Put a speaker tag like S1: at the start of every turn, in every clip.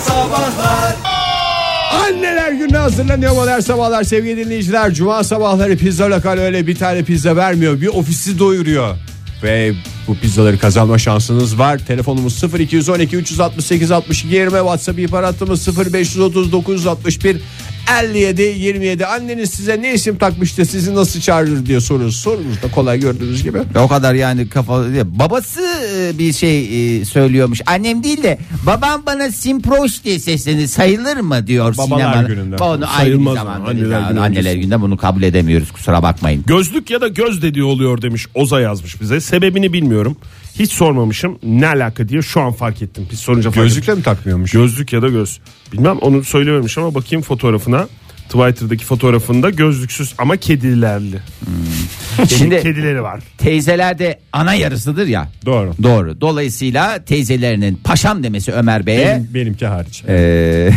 S1: Sabahlar
S2: Anneler gününe hazırlanıyor modern sabahlar sevgili dinleyiciler. Cuma sabahları pizza lokal öyle bir tane pizza vermiyor. Bir ofisi doyuruyor. Ve bu pizzaları kazanma şansınız var. Telefonumuz 0212 368 62 20 WhatsApp ihbar hattımız 0530 961 57 27. Anneniz size ne isim takmış da sizi nasıl çağırır diye soruyoruz. Sorunuz da kolay gördüğünüz gibi.
S3: O kadar yani kafa babası e, bir şey e, söylüyormuş. Annem değil de babam bana simproş diye seslenir sayılır mı diyor
S2: Babalar
S3: sinemada.
S2: gününde.
S3: Onu ayrı bir
S4: Sayılmaz
S3: zamanda.
S4: ama anneler
S3: Anneler,
S4: günü
S3: anneler
S4: öncesi.
S3: günde bunu kabul edemiyoruz kusura bakmayın.
S4: Gözlük ya da göz dediği oluyor demiş Oza yazmış bize. Sebebini bilmiyorum. Hiç sormamışım. Ne alaka diye şu an fark ettim. Biz sorunca fark ettim.
S2: Gözlükle mi takmıyormuş?
S4: Gözlük ya da göz. Bilmem onu söylememiş ama bakayım fotoğrafına. Twitter'daki fotoğrafında gözlüksüz ama kedilerli. Şimdi
S3: Hmm. Şimdi
S4: kedileri var.
S3: teyzeler de ana yarısıdır ya.
S4: Doğru.
S3: Doğru. Dolayısıyla teyzelerinin paşam demesi Ömer Bey'e
S2: Benim- benimki hariç.
S3: e,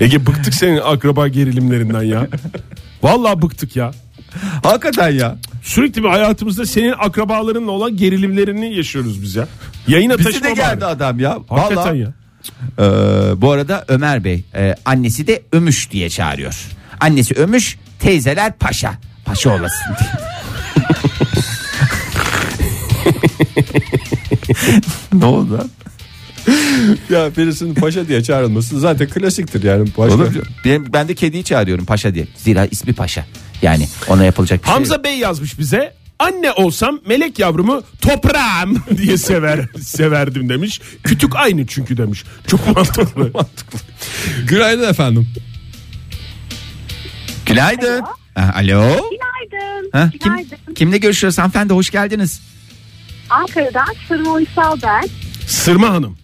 S4: Ege bıktık senin akraba gerilimlerinden ya. Vallahi bıktık ya.
S2: Hakikaten ya.
S4: Sürekli bir hayatımızda senin akrabalarınla olan gerilimlerini yaşıyoruz biz ya. Yayına
S3: bizi
S4: taşıma
S3: de geldi
S4: bari.
S3: adam ya.
S4: Hakikaten
S3: Vallahi
S4: ya.
S3: Ee, bu arada Ömer Bey e, annesi de Ömüş diye çağırıyor. Annesi Ömüş, teyzeler Paşa. Paşa olasın diye. ne oldu? lan?
S2: Ya birisinin paşa diye çağrılması zaten klasiktir yani. Başka-
S3: Olur. Ben, ben de kediyi çağırıyorum Paşa diye. Zira ismi Paşa. Yani ona yapılacak bir şey.
S4: Hamza Bey yazmış bize. Anne olsam melek yavrumu toprağım diye sever severdim demiş. Kütük aynı çünkü demiş. Çok mantıklı.
S2: Günaydın efendim.
S3: yok. Günaydın. Ha, Alo.
S5: Günaydın.
S3: Ha, kim,
S5: Günaydın.
S3: kimle görüşüyoruz hanımefendi hoş geldiniz.
S5: Ankara'dan Sırma Uysal ben.
S4: Sırma Hanım.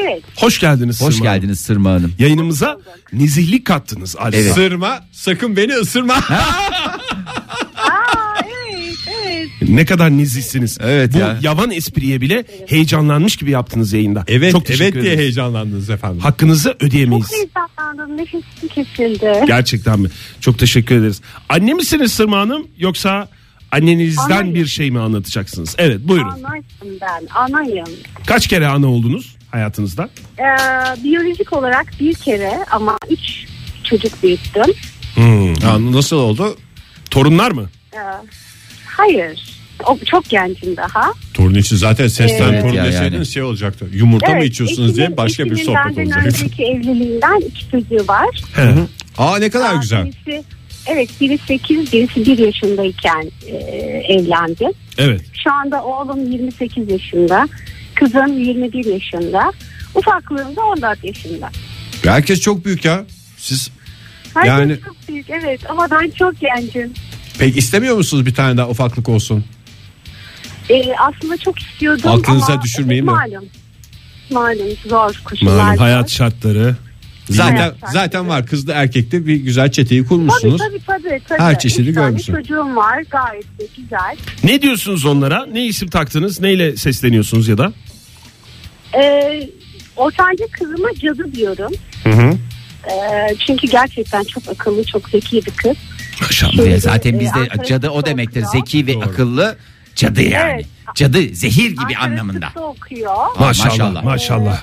S5: Evet.
S4: Hoş geldiniz
S3: Hoş
S4: Sırma Hanım.
S3: geldiniz Sırma Hanım.
S4: Yayınımıza nezihlik kattınız Alisa.
S3: Evet.
S2: Sırma sakın beni ısırma.
S5: Aa, evet, evet.
S4: Ne kadar nezihsiniz.
S3: Evet
S4: Bu
S3: ya.
S4: yavan espriye bile heyecanlanmış gibi yaptınız yayında.
S2: Evet
S4: Çok teşekkür
S2: evet diye
S4: ederiz.
S2: heyecanlandınız efendim.
S4: Hakkınızı
S5: Çok
S4: ödeyemeyiz.
S5: heyecanlandım. Nefesim kesildi.
S4: Gerçekten mi? Çok teşekkür ederiz. Anne misiniz Sırma Hanım yoksa annenizden
S5: Anayım.
S4: bir şey mi anlatacaksınız? Evet buyurun.
S5: Anayım ben. Anayım.
S4: Kaç kere ana oldunuz hayatınızda?
S5: Ee, biyolojik olarak bir kere ama üç çocuk büyüttüm.
S2: Ya nasıl oldu?
S4: Torunlar mı?
S5: Ee, hayır. O, çok gencim daha.
S2: Torun için zaten sesten
S3: Evet
S2: torun
S3: ya
S2: deseydiniz
S3: yani.
S2: şey olacaktı. Yumurta mı
S5: Evet,
S2: içiyorsunuz
S5: eşimin-
S2: diye başka bir
S5: eşimin
S2: sohbet
S5: benden
S2: olacaktı.
S5: önceki evliliğinden iki çocuğu var.
S2: Aa ne kadar
S5: Aa,
S2: güzel.
S5: Birisi, evet biri 8, birisi 1 yaşındayken e, evlendi.
S4: Evet.
S5: Şu anda oğlum 28 yaşında, kızım 21 yaşında, ufaklığım da 14 yaşında.
S2: Herkes çok büyük ya. Siz
S5: Herkes
S2: Yani-
S5: çok büyük evet ama ben çok gencim.
S2: pek istemiyor musunuz bir tane daha ufaklık olsun?
S5: Ee, aslında çok istiyordum
S2: Aklınıza
S5: ama
S2: düşürmeyin mi?
S5: malum. Malum zor koşullar.
S4: Malum
S5: zor.
S4: hayat şartları.
S2: Zaten
S5: Evet, zaten.
S2: zaten var kızda erkekte bir güzel çeteyi
S5: Tabii
S2: kurmuşsunuz.
S5: tabii tabii. tabii.
S2: Her çeşidi
S5: Üç tane
S2: görmüşsün.
S5: çocuğum var gayet de güzel.
S4: Ne diyorsunuz onlara? Ne isim taktınız? Neyle sesleniyorsunuz ya da?
S5: Ee, ortanca kızıma cadı diyorum. Ee, çünkü gerçekten çok akıllı, çok zeki bir kız.
S3: Şamlıya zaten
S5: Ee,
S3: bizde
S5: Ankara
S3: cadı o
S5: Tıp'ta
S3: demektir.
S5: okuyor.
S3: Zeki ve akıllı cadı yani.
S5: Evet.
S3: Cadı zehir gibi
S5: Ankara
S3: anlamında.
S5: Tıp'ta okuyor.
S3: Aa, maşallah.
S4: Maşallah.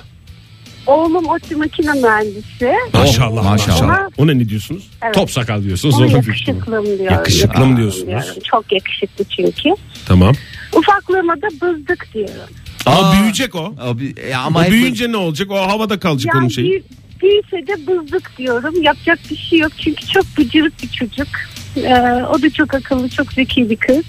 S5: Oğlum otlu makine mühendisi.
S4: Maşallah.
S3: maşallah.
S4: Maşallah. Ona ne diyorsunuz?
S5: Evet.
S2: Oh, Top sakal diyorsunuz.
S5: Ona
S2: onun büyük ihtimalle.
S5: yakışıklım diyorum.
S4: Yakışıklım diyorsunuz.
S5: diyorum. Çok yakışıklı çünkü.
S4: Tamam.
S5: Ufaklığıma da bızdık diyorum.
S4: Ama
S3: Aa.
S4: büyüyecek o.
S3: Abi, e,
S4: O
S3: ama hep-
S4: büyüyünce ne olacak? O havada kalacak onun
S5: Yani
S4: şeyi.
S2: şey-
S5: büyü- büyüse de bızdık diyorum. Yapacak bir şey yok. Çünkü çok bıcırık bir çocuk. Ee, o da çok akıllı, çok zeki bir kız.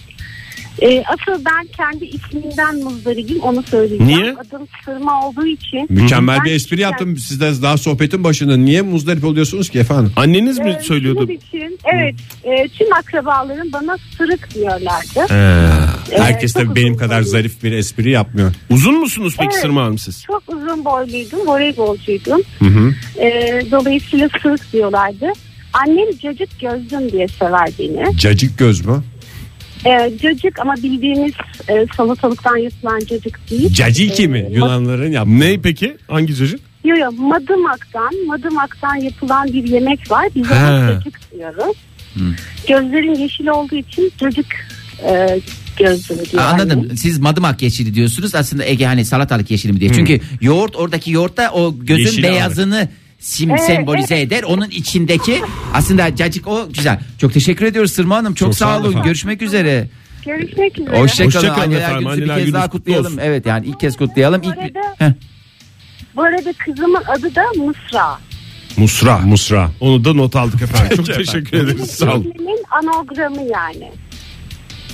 S5: Ee, asıl ben kendi isminden muzdaribim onu söyleyeceğim.
S4: Niye?
S5: Adım Sırma olduğu için.
S2: Mükemmel
S5: Ben
S2: bir espri yaptım sizden daha sohbetin başında. Niye muzdarip oluyorsunuz ki efendim?
S4: Anneniz mi
S5: Ee,
S4: söylüyordu?
S5: bunun Için, evet. e, tüm akrabalarım bana sırık diyorlardı. Ee,
S2: Herkes
S5: çok
S2: tabii benim
S5: uzun
S2: kadar
S5: boylu-
S2: zarif bir espri yapmıyor.
S4: Uzun musunuz peki
S5: Evet.
S4: Sırma Hanım siz?
S5: Çok uzun boyluydum, voleybolcuydum. Ee, dolayısıyla sırık diyorlardı. Annem cacık gözlüm diye sever beni.
S2: Cacık göz mü?
S5: Ee, cacık ama bildiğimiz e, salatalıktan yapılan cacık değil.
S2: Caciki mi? Yunanların yaptığı.
S4: Ne peki? Hangi çocuk?
S5: Yo yo madımaktan, madımaktan yapılan bir yemek var. Biz
S4: He.
S5: ona cacık diyoruz. Gözlerin yeşil olduğu için cacık e, gözlülü diyor. annem.
S3: Anladım. Siz madımak yeşili diyorsunuz. Aslında Ege hani salatalık yeşili mi diye.
S4: Hmm.
S3: Çünkü yoğurt oradaki yoğurtta o gözün
S2: Yeşili
S3: beyazını sim
S5: Evet,
S3: sembolize eder. Onun içindeki aslında cacık o güzel. Çok teşekkür ediyoruz Sırma Hanım. Çok, sağ, olun. Görüşmek üzere.
S5: Görüşmek üzere.
S3: Hoşçakalın.
S4: Hoşça kalın
S3: Anneler
S4: efendim.
S3: gününüzü bir
S4: Anneler
S3: kez
S4: gününüz
S3: daha
S4: kutlu
S3: kutlayalım.
S4: olsun.
S3: Evet yani ilk kez kutlayalım. İlk...
S5: Bu
S3: Heh.
S5: Bu arada kızımın adı da Mısra.
S4: Musra. Musra. Onu da not aldık efendim. Çok teşekkür ederiz. Sağ olun.
S5: Benim anogramı yani.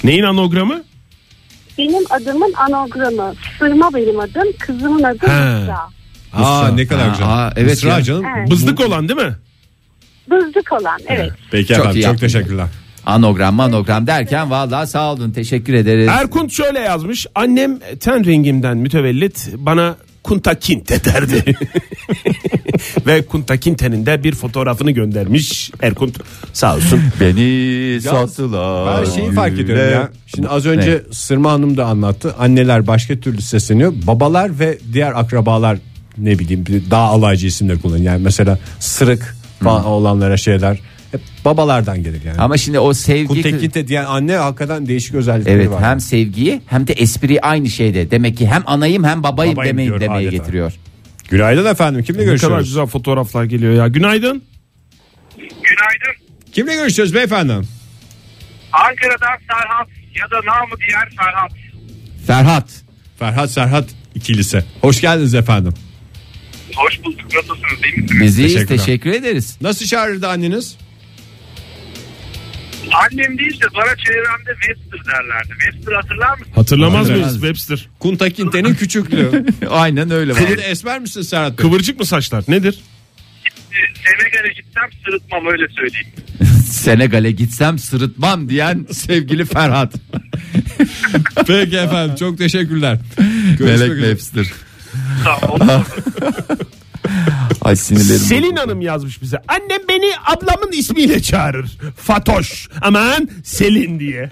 S4: Neyin anogramı?
S5: Benim adımın anogramı. Sırma benim adım. Kızımın adı
S4: He.
S5: Mısra.
S2: Aa ne kadar
S3: Aa,
S2: güzel.
S3: aa, evet
S2: Mısra
S3: ya.
S2: canım.
S5: Evet.
S4: Bızdık olan değil mi?
S5: Bızdık olan evet.
S2: Peki
S3: Çok
S2: efendim
S3: iyi
S2: çok
S3: yaptın.
S2: teşekkürler.
S3: Anogram anogram derken vallahi sağ olun. Teşekkür ederiz.
S4: Erkun şöyle yazmış. Annem ten rengimden mütevellit bana kunta kinte derdi. Ve kunta kintenin de bir fotoğrafını göndermiş Erkun. Sağ olsun.
S3: Beni sattılar.
S2: Ben şeyi fark ediyorum ya. Şimdi az önce Sırma Hanım da anlattı. Anneler başka türlü sesleniyor. Babalar ve diğer akrabalar ne bileyim bir daha alaycı isimler kullanıyor. Yani mesela sırık falan olanlara şeyler hep babalardan gelir yani.
S3: Ama şimdi o sevgi...
S2: Kuntekinte diyen anne hakikaten değişik özellikleri
S3: Evet
S2: var.
S3: hem sevgiyi hem de espriyi aynı şeyde. Demek ki hem anayım hem babayım,
S2: Babayım
S3: demeyin
S2: diyorum
S3: demeye
S2: adeta.
S3: getiriyor.
S2: Günaydın efendim. Kimle
S4: Ne kadar
S2: görüşüyoruz?
S4: güzel fotoğraflar geliyor ya. Günaydın.
S1: Günaydın.
S2: Kimle görüşüyoruz beyefendi?
S1: Ankara'dan Serhat ya da namı diğer Serhat.
S3: Ferhat.
S2: Ferhat Serhat ikilisi. Hoş geldiniz efendim.
S1: Hoş bulduk. Nasılsınız? İyi misiniz?
S3: Bizi
S2: Teşekkürler.
S3: teşekkür ederiz.
S2: Nasıl çağırırdı anneniz?
S1: Annem değil de bana çevremde Webster derlerdi. Webster hatırlar mısın?
S4: Hatırlamaz
S2: Hatırlamaz.
S4: mıyız Webster?
S2: Kuntakinte'nin küçüklüğü.
S3: Aynen öyle.
S2: Kıvır esmer misin Serhat Bey?
S4: Kıvırcık mı saçlar? Nedir?
S1: Ee, Senegal'e gitsem sırıtmam öyle söyleyeyim.
S3: Senegal'e gitsem sırıtmam diyen sevgili Ferhat.
S2: Peki efendim çok teşekkürler. Görüşmek
S3: Melek
S2: üzere.
S3: Webster.
S1: Sağ olun.
S3: Ay sinirlerim.
S4: Selin Hanım yazmış bize. Annem beni ablamın ismiyle çağırır. Fatoş. Aman Selin diye.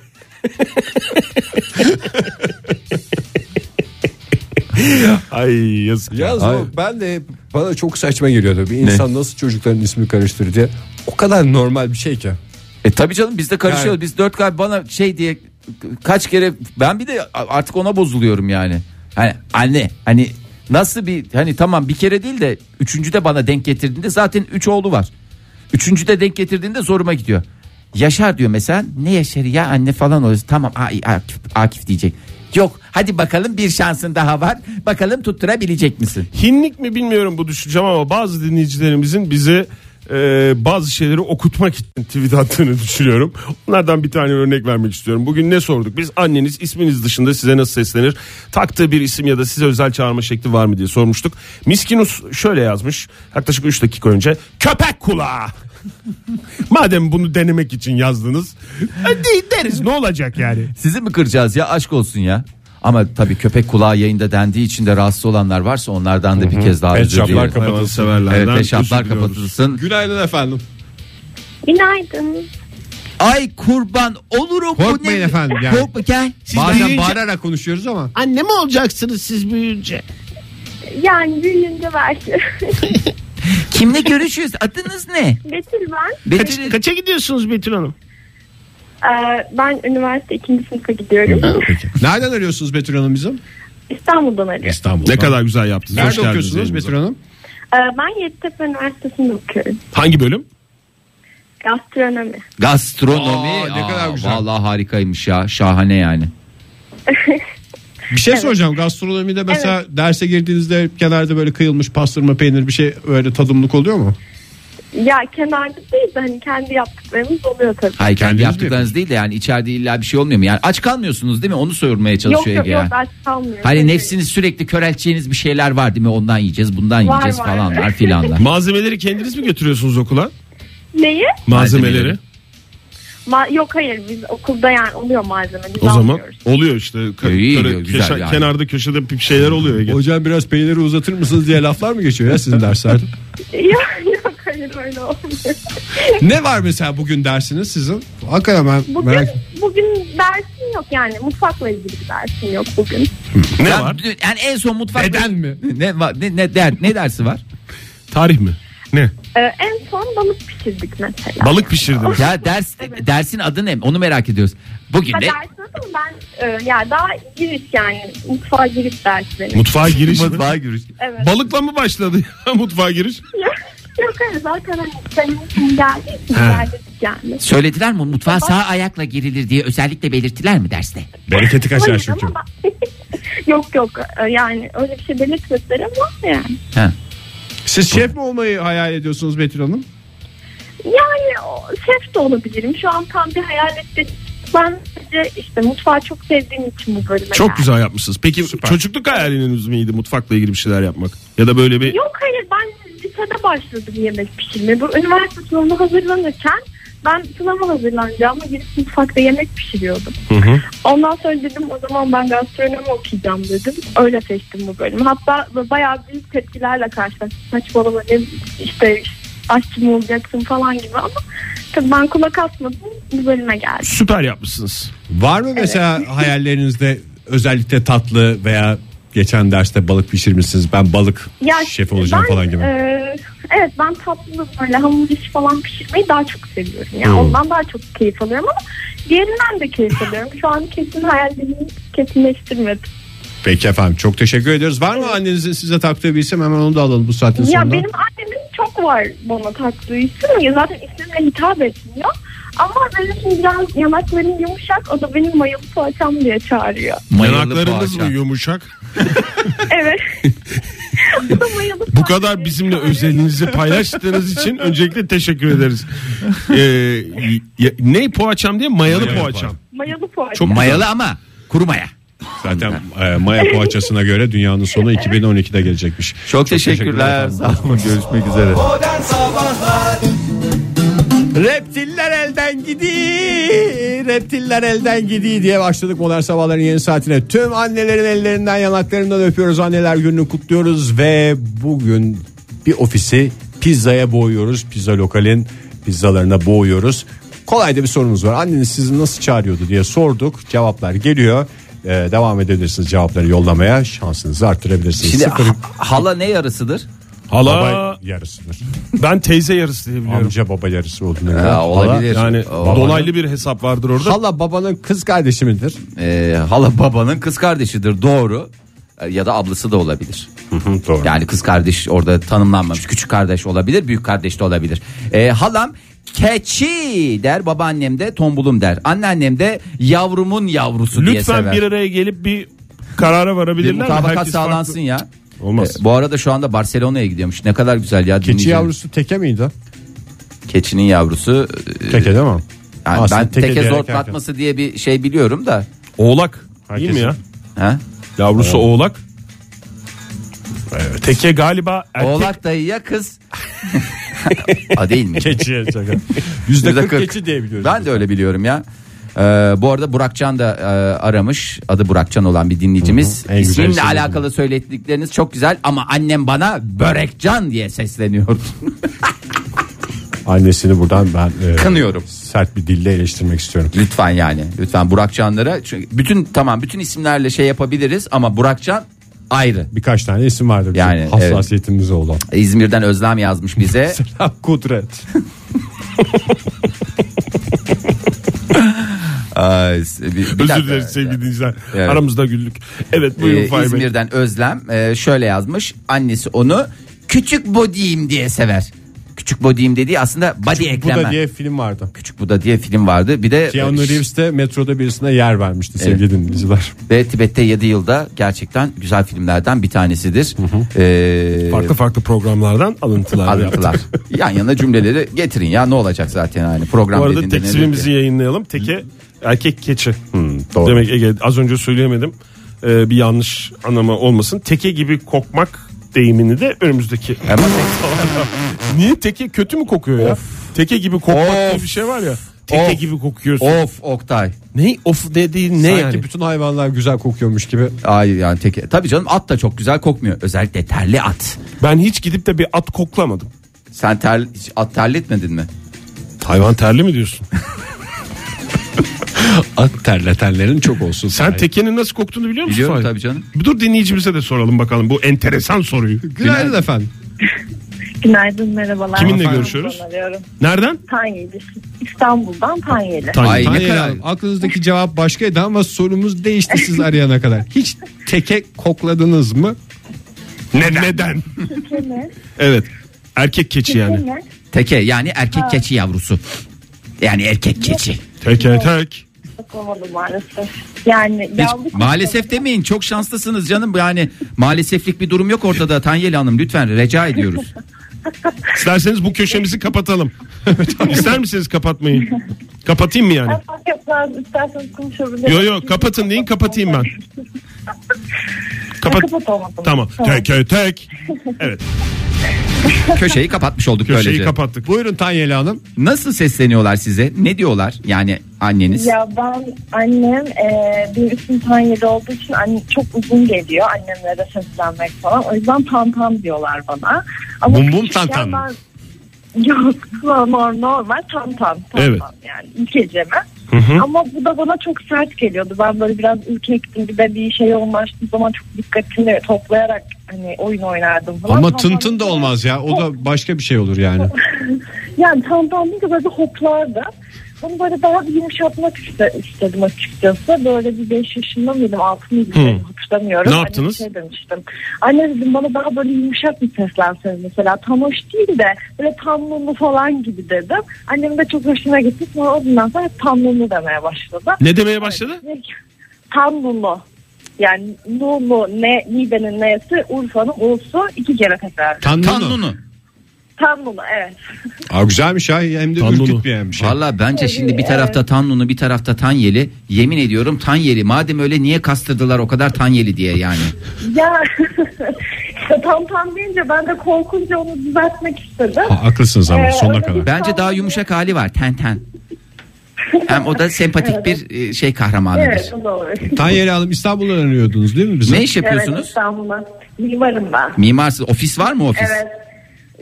S4: Ay yazık.
S2: Yalnız
S3: Ay.
S2: o ben de bana çok saçma geliyordu. Bir insan nasıl çocukların ismini karıştırır diye. O kadar normal bir şey ki.
S3: E tabii canım biz de karışıyoruz.
S2: Yani-
S3: Biz dört kalp bana şey diye kaç kere ben bir de artık ona bozuluyorum yani. Hani anne hani nasıl bir hani tamam bir kere değil de üçüncüde bana denk getirdiğinde zaten üç oğlu var. Üçüncüde denk getirdiğinde zoruma gidiyor. Yaşar diyor mesela ne Yaşar'ı ya anne falan oluyor. Tamam A- Akif, Akif diyecek. Yok hadi bakalım bir şansın daha var. Bakalım tutturabilecek misin?
S4: Hinlik mi bilmiyorum bu düşüncem ama bazı dinleyicilerimizin bize e, bazı şeyleri okutmak için tweet attığını düşünüyorum. Onlardan bir tane örnek vermek istiyorum. Bugün ne sorduk? Biz anneniz isminiz dışında size nasıl seslenir? Taktığı bir isim ya da size özel çağırma şekli var mı diye sormuştuk. Miskinus şöyle yazmış yaklaşık 3 dakika önce. Köpek kulağı. Madem bunu denemek için yazdınız e, de- deriz ne olacak yani?
S3: Sizi mi kıracağız ya aşk olsun ya. Ama tabii köpek kulağı yayında dendiği için de rahatsız olanlar varsa onlardan da bir kez daha
S2: Pet
S3: özür
S2: shoplar
S3: diliyorum.
S2: kapat-
S3: Evet
S4: Hayvanseverlerden
S3: peşaplar
S4: özür diliyoruz.
S3: kapatılsın.
S2: Günaydın efendim.
S5: Günaydın.
S3: Ay kurban olurum
S2: Korkmayın efendim yani.
S3: Korkma gel.
S2: Bazen
S3: Bazen bağır-
S2: bağırarak konuşuyoruz ama.
S6: Anne mi olacaksınız siz büyüyünce?
S5: Yani büyüğünde belki.
S3: Kimle görüşüyoruz? Adınız ne?
S5: Betül ben.
S3: Betül.
S6: Kaça gidiyorsunuz Betül Hanım?
S5: Ee, ben üniversite ikinci sınıfa gidiyorum.
S2: Nereden arıyorsunuz Betül Hanım bizim?
S5: İstanbul'dan arıyorum.
S2: İstanbul.
S4: Ne kadar güzel yaptınız. Hoş
S2: Nerede
S4: geldiniz
S2: okuyorsunuz
S4: yayınımıza.
S2: Betül Hanım?
S5: Ee, ben Yeditepe Üniversitesi'nde okuyorum.
S4: Hangi bölüm?
S5: Gastronomi.
S3: Gastronomi.
S2: Aa, ne kadar güzel.
S3: Vallahi harikaymış ya. Şahane yani.
S2: Bir şey soracağım. Gastronomide mesela derse girdiğinizde kenarda böyle kıyılmış pastırma peynir bir şey öyle tadımlık oluyor mu?
S5: Ya kenarda değil de hani kendi yaptıklarımız oluyor tabii.
S3: Hayır kendi
S2: Kendiniz mi
S3: yaptıklarınız değil de yani içeride illa bir şey olmuyor mu? Yani aç kalmıyorsunuz değil mi? Onu sormaya
S5: Yok
S4: şey
S3: çalışıyor
S5: yok
S3: Ege.
S5: yok
S3: yani.
S5: aç kalmıyor.
S3: Hani nefsiniz sürekli körelteceğiniz bir şeyler var değil mi? Ondan yiyeceğiz, bundan
S5: Var,
S3: yiyeceğiz
S5: var.
S3: falanlar filanlar.
S4: Malzemeleri kendiniz mi götürüyorsunuz okula?
S5: Neyi?
S4: Malzemeleri.
S5: Ma- yok hayır biz okulda yani oluyor malzeme. Biz
S4: O zaman
S5: almıyoruz.
S4: oluyor işte. Ka-
S3: İyi,
S4: kare-
S3: güzel
S4: köşe-
S3: yani.
S4: Kenarda köşede bir şeyler oluyor. Ege.
S2: Hocam biraz peyniri uzatır mısınız diye laflar mı geçiyor ya sizin derslerde?
S5: yok yok hayır öyle olmuyor.
S2: ne var mesela bugün dersiniz sizin? Hakikaten ben
S5: Bugün,
S2: merak
S5: bugün dersim yok yani mutfakla ilgili bir dersim yok bugün.
S4: Ne
S3: Ben
S4: var?
S3: dün- Yani en son mutfak
S2: Neden mi?
S3: Ne va- ne ne, der, ne dersi var?
S4: Tarih mi? Ne?
S5: Ee, en son balık pişirdik mesela.
S4: Balık pişirdim.
S3: Ya ders dersin adı ne? Onu merak ediyoruz. Bugün
S5: Ha,
S3: de
S5: dersiniz ama ben e, ya daha giriş yani mutfağa giriş dersleri.
S4: Mutfağa giriş mi?
S3: mutfağa giriş.
S5: evet.
S4: Balıkla mı başladı ya mutfağa giriş?
S5: Yok hayır zaten hani senin için geldik biz geldik yani.
S3: Söylediler mi mutfağa sağ ayakla girilir diye özellikle belirttiler mi derste?
S2: Bereketi kaçar
S5: Hayır
S2: çünkü.
S5: ama ben- yok yok e, yani öyle bir şey belirtmediler ama yani.
S2: Siz şef mi olmayı hayal ediyorsunuz Betül Hanım?
S5: Yani o, şef de olabilirim. Şu an tam bir hayal ettim. Ben sadece işte mutfağı çok sevdiğim için bu bölüme
S4: Çok
S5: geldim.
S4: güzel yapmışsınız. Peki çocukluk hayaliniz miydi mutfakla ilgili bir şeyler yapmak? Ya da böyle bir
S5: Yok hayır ben lisede başladım yemek pişirmeye. Bu üniversite sınavına hazırlanırken ben sınava hazırlanacağıma girip mutfakta yemek pişiriyordum. Ondan sonra dedim o zaman ben gastronomi okuyacağım dedim. Öyle seçtim bu bölümü. Hatta bayağı büyük tepkilerle karşılaştım. Saçmalama ne işte aşçı mı olacaksın falan gibi ama tabii ben kulak asmadım bu bölüme geldim.
S4: süper yapmışsınız.
S2: Var mı mesela hayallerinizde özellikle tatlı veya geçen derste balık pişirmişsiniz ben balık şefi olacağım
S5: ben,
S2: falan gibi.
S5: e, evet ben tatlı böyle hamur işi falan pişirmeyi daha çok seviyorum. Yani
S2: Hmm.
S5: ondan daha çok keyif alıyorum ama diğerinden de keyif alıyorum. Şu an kesin hayallerimi kesinleştirmedim.
S2: Peki efendim çok teşekkür ediyoruz. Var mı annenizin size taktığı bir isim hemen onu da alalım bu saatin
S5: ya
S2: sonunda.
S5: benim annemin çok var bana taktığı isim. Ya Zaten ismimle hitap etmiyor. Ama benim şimdi biraz yanaklarım yumuşak. O da benim mayalı poğaçam diye çağırıyor.
S3: Mayalı
S4: Yanaklarınız
S3: poğaça.
S4: mı yumuşak?
S5: Evet. O da mayalı
S4: Bu
S5: poğaçam
S4: kadar
S5: diye
S4: bizimle
S5: çağırıyor.
S4: özelinizi paylaştığınız için öncelikle teşekkür ederiz. Ee, ya- ne poğaçam diye mayalı,
S2: Mayalı
S4: poğaçam.
S5: Mayalı poğaça.
S4: Çok
S3: Mayalı ama kuru maya.
S2: Zaten e, Maya poğaçasına göre dünyanın sonu 2012'de gelecekmiş.
S3: Çok,
S2: Ee,
S3: teşekkürler. Sağ olun. Görüşmek üzere.
S2: Reptiller elden gidi, reptiller elden gidi diye başladık modern sabahların yeni saatine. Tüm annelerin ellerinden yanaklarından öpüyoruz. Anneler gününü kutluyoruz ve bugün bir ofisi pizzaya boğuyoruz. Pizza lokalin pizzalarına boğuyoruz. Kolay da bir sorumuz var. Anneniz sizi nasıl çağırıyordu diye sorduk. Cevaplar geliyor. Ee, devam edebilirsiniz cevapları yollamaya. Şansınızı arttırabilirsiniz.
S3: Şimdi
S2: Sıfır
S3: ha- hala ne yarısıdır?
S2: baba
S4: Hala
S2: yarısıdır.
S4: ben teyze yarısı diye biliyorum.
S2: Amca baba yarısı olduğunu. göre.
S3: Ha, olabilir.
S4: Yani
S3: Hala-
S4: dolaylı bir hesap vardır orada.
S2: Hala babanın kız kardeşi midir?
S3: Ee, hala babanın kız kardeşidir doğru. Ee, Ya da ablası da olabilir.
S2: Doğru.
S3: Yani kız kardeş orada tanımlanmamış. Küçük kardeş olabilir, büyük kardeş de olabilir. Ee, halam keçi der, babaannem de tombulum der. Anneannem de yavrumun yavrusu diye sever.
S4: Lütfen bir araya gelip bir karara
S3: bir
S4: varabilirler mi?
S3: mutabakat
S4: Herkes
S3: sağlansın
S4: farklı.
S3: ya.
S4: Olmaz.
S3: Ee, bu arada şu anda Barcelona'ya gidiyormuş. Ne kadar güzel ya.
S2: Keçi
S3: dinleyeceğim.
S2: yavrusu teke miydi?
S3: Keçinin yavrusu. e,
S2: Ee, Teke değil mi?
S3: yani
S2: Aslında
S3: ben
S2: teke
S3: teke,
S2: diyerek
S3: zortlatması diye bir şey biliyorum da.
S4: Oğlak. Değil mi
S2: Herkesin-
S4: ya?
S3: Ha?
S4: Yavrusu oğlak. Teke galiba erkek.
S3: Oğlak dayıya kız. A değil mi?
S2: Keçiye Yüzde
S3: Yüzde
S2: kırk
S3: kırk.
S2: keçi diye biliyoruz.
S3: Ben de öyle biliyorum ya. Ee, bu arada Burakcan da e, aramış. Adı Burakcan olan bir dinleyicimiz.
S2: Hı hı, en güzel
S3: İsminle
S2: isim
S3: alakalı söyledikleriniz çok güzel ama annem bana Börekcan diye sesleniyor.
S2: Annesini buradan ben e,
S3: Kınıyorum.
S2: Sert bir dille eleştirmek istiyorum.
S3: lütfen yani. Lütfen Burakcanlara çünkü bütün tamam bütün isimlerle şey yapabiliriz ama Burakcan ayrı.
S2: Birkaç tane isim vardır bizim
S3: Yani, evet.
S2: hassasiyetimiz olan.
S3: İzmir'den Özlem yazmış bize.
S2: Kudret.
S3: Ay, bir- bir dakika.
S4: Özür dileriz sevgili dinleyiciler.
S3: Evet.
S4: Aramızda güldük. Evet
S3: Ee,
S4: buyurun Fahir Bey.
S3: İzmir'den Özlem e, şöyle yazmış. Annesi onu küçük body'im diye sever. Küçük body'im dediği aslında body
S2: Bu
S3: ekleme.
S2: da diye film vardı.
S3: Küçük Buda diye film vardı. Bir de e,
S2: Keanu Reeves de metroda birisine yer vermişti sevgili dinleyiciler.
S3: ve Tibet'te 7 yılda gerçekten güzel filmlerden bir tanesidir. Ee,
S4: Farklı farklı programlardan alıntılar. yaptık.
S3: alıntılar. Yan yana cümleleri getirin ya ne olacak zaten hani program
S4: Bu arada
S3: dediğinde ne olur ki?
S4: tekzibimizi yayınlayalım. Teke erkek keçi. Hmm,
S2: doğru.
S4: Demek Ege az önce söyleyemedim. Ee, bir yanlış anlama olmasın. Teke gibi kokmak deyimini de önümüzdeki.
S3: Ama tek-
S4: Niye teke kötü mü kokuyor ya? Teke gibi kokmak diye bir şey var ya. Teke
S3: Of.
S4: gibi kokuyorsun.
S3: of Oktay.
S4: Ne of dediğin ne
S2: Sanki
S4: yani?
S2: bütün hayvanlar güzel kokuyormuş gibi.
S3: Hayır yani tek tabii canım at da çok güzel kokmuyor. Özellikle terli at.
S4: Ben hiç gidip de bir at koklamadım.
S3: Sen ter, hiç at terletmedin mi?
S4: Hayvan terli mi diyorsun?
S2: At terletenlerin çok olsun.
S4: Sen tekenin nasıl koktuğunu biliyor musun?
S3: Biliyorum
S4: Fahir?
S3: tabii canım.
S4: Dur dinleyicimize de soralım bakalım bu enteresan soruyu.
S2: Günaydın efendim.
S5: Günaydın merhabalar.
S4: Kiminle
S5: Ben
S4: görüşüyoruz?
S5: arıyorum.
S4: Nereden?
S5: Tanyeli. İstanbul'dan Tanyeli.
S4: Tanya.
S3: Ay, ne
S2: Tanya
S3: kadar-
S2: Hanım, aklınızdaki cevap başkaydı ama sorumuz değişti siz arayana kadar. Hiç teke kokladınız mı?
S4: Neden?
S5: Kene,
S4: Evet. Erkek keçi yani.
S5: kene.
S3: Teke yani erkek keçi yavrusu. Yani erkek keçi.
S4: Teke tek.
S5: Olmadı maalesef. Yani
S3: Hiç-
S5: yavru-
S3: maalesef demeyin çok şanslısınız canım. Yani maaleseflik bir durum yok ortada Tanyeli Hanım lütfen rica ediyoruz.
S4: İsterseniz bu köşemizi kapatalım. İster misiniz kapatmayı? Kapatayım mı yani?
S5: Fark etmez, isterseniz konuşuruz.
S4: Yo yo kapatın deyin kapatayım ben. Kapat.
S5: Kapat olmadı.
S4: Tamam. Teke tek. Evet.
S3: Köşeyi kapatmış olduk
S4: Köşeyi
S3: böylece.
S4: kapattık.
S2: Buyurun Tanyeli Hanım.
S3: Nasıl sesleniyorlar size? Ne diyorlar? Yani anneniz.
S5: Ya ben annem e, bir isim Tanyeli olduğu için anne, çok uzun geliyor annemlere seslenmek falan. O yüzden tam tam diyorlar bana. Ama
S4: Bum bum tam
S5: küçükken
S4: tam mı?
S5: ben- Yok normal, normal tam tam. tam
S4: Evet.
S5: tam yani ülkece mi?
S4: hı.
S5: Ama bu da bana çok sert geliyordu. Ben böyle biraz ürkektim bir de bir şey olmaştım zaman çok dikkatini toplayarak hani oyun oynardım falan.
S2: Ama
S5: Tam
S2: tın
S5: tam
S2: tın da
S5: diye-
S2: olmaz ya. O da başka bir şey olur yani.
S5: yani tamdan deyince böyle bir hoplardı. Bunu böyle daha bir yumuşatmak iste, istedim açıkçası. Böyle bir 5 yaşında mıydım 6 mıydım
S4: Hı.
S5: hmm. hatırlamıyorum.
S4: Ne
S5: Anne
S4: yaptınız?
S5: Şey demiştim. Anne dedim bana daha böyle yumuşak bir seslenseniz mesela. Tam hoş değil de böyle tamlulu falan gibi dedim. Annem de çok hoşuna gitti. Sonra o günden sonra hep tamlulu demeye başladı.
S4: Ne demeye başladı?
S5: Tamlulu. Yani Nulu, ne, Nide'nin neyesi, Urfa'nın U'su iki kere tekrar.
S2: Tandunu.
S3: Kanunu.
S5: Tamlulu evet.
S2: Aa, güzelmiş ha. Hem de
S4: Tandunu.
S2: ürkütmeyen bir şey.
S3: Valla bence şimdi bir tarafta Tanun'u bir tarafta Tanyeli. Yemin ediyorum Tanyeli. Madem öyle niye kastırdılar o kadar Tanyeli diye yani.
S5: Ya işte tam tam deyince ben de korkunca onu düzeltmek istedim.
S2: Ha,
S4: Ah,
S2: haklısınız ama
S5: Ee,
S2: sonuna
S5: öyle
S2: kadar.
S5: bir-
S3: Bence daha yumuşak hali var ten ten. Hem o da sempatik bir e, şey kahramanıdır.
S5: Evet o doğru.
S2: Tanyeli Hanım İstanbul'dan arıyordunuz değil mi bize?
S3: Ne iş
S5: Evet
S3: yapıyorsunuz?
S5: İstanbul'a mimarım ben.
S3: Mimarsınız. Ofis var mı ofis?
S5: Evet.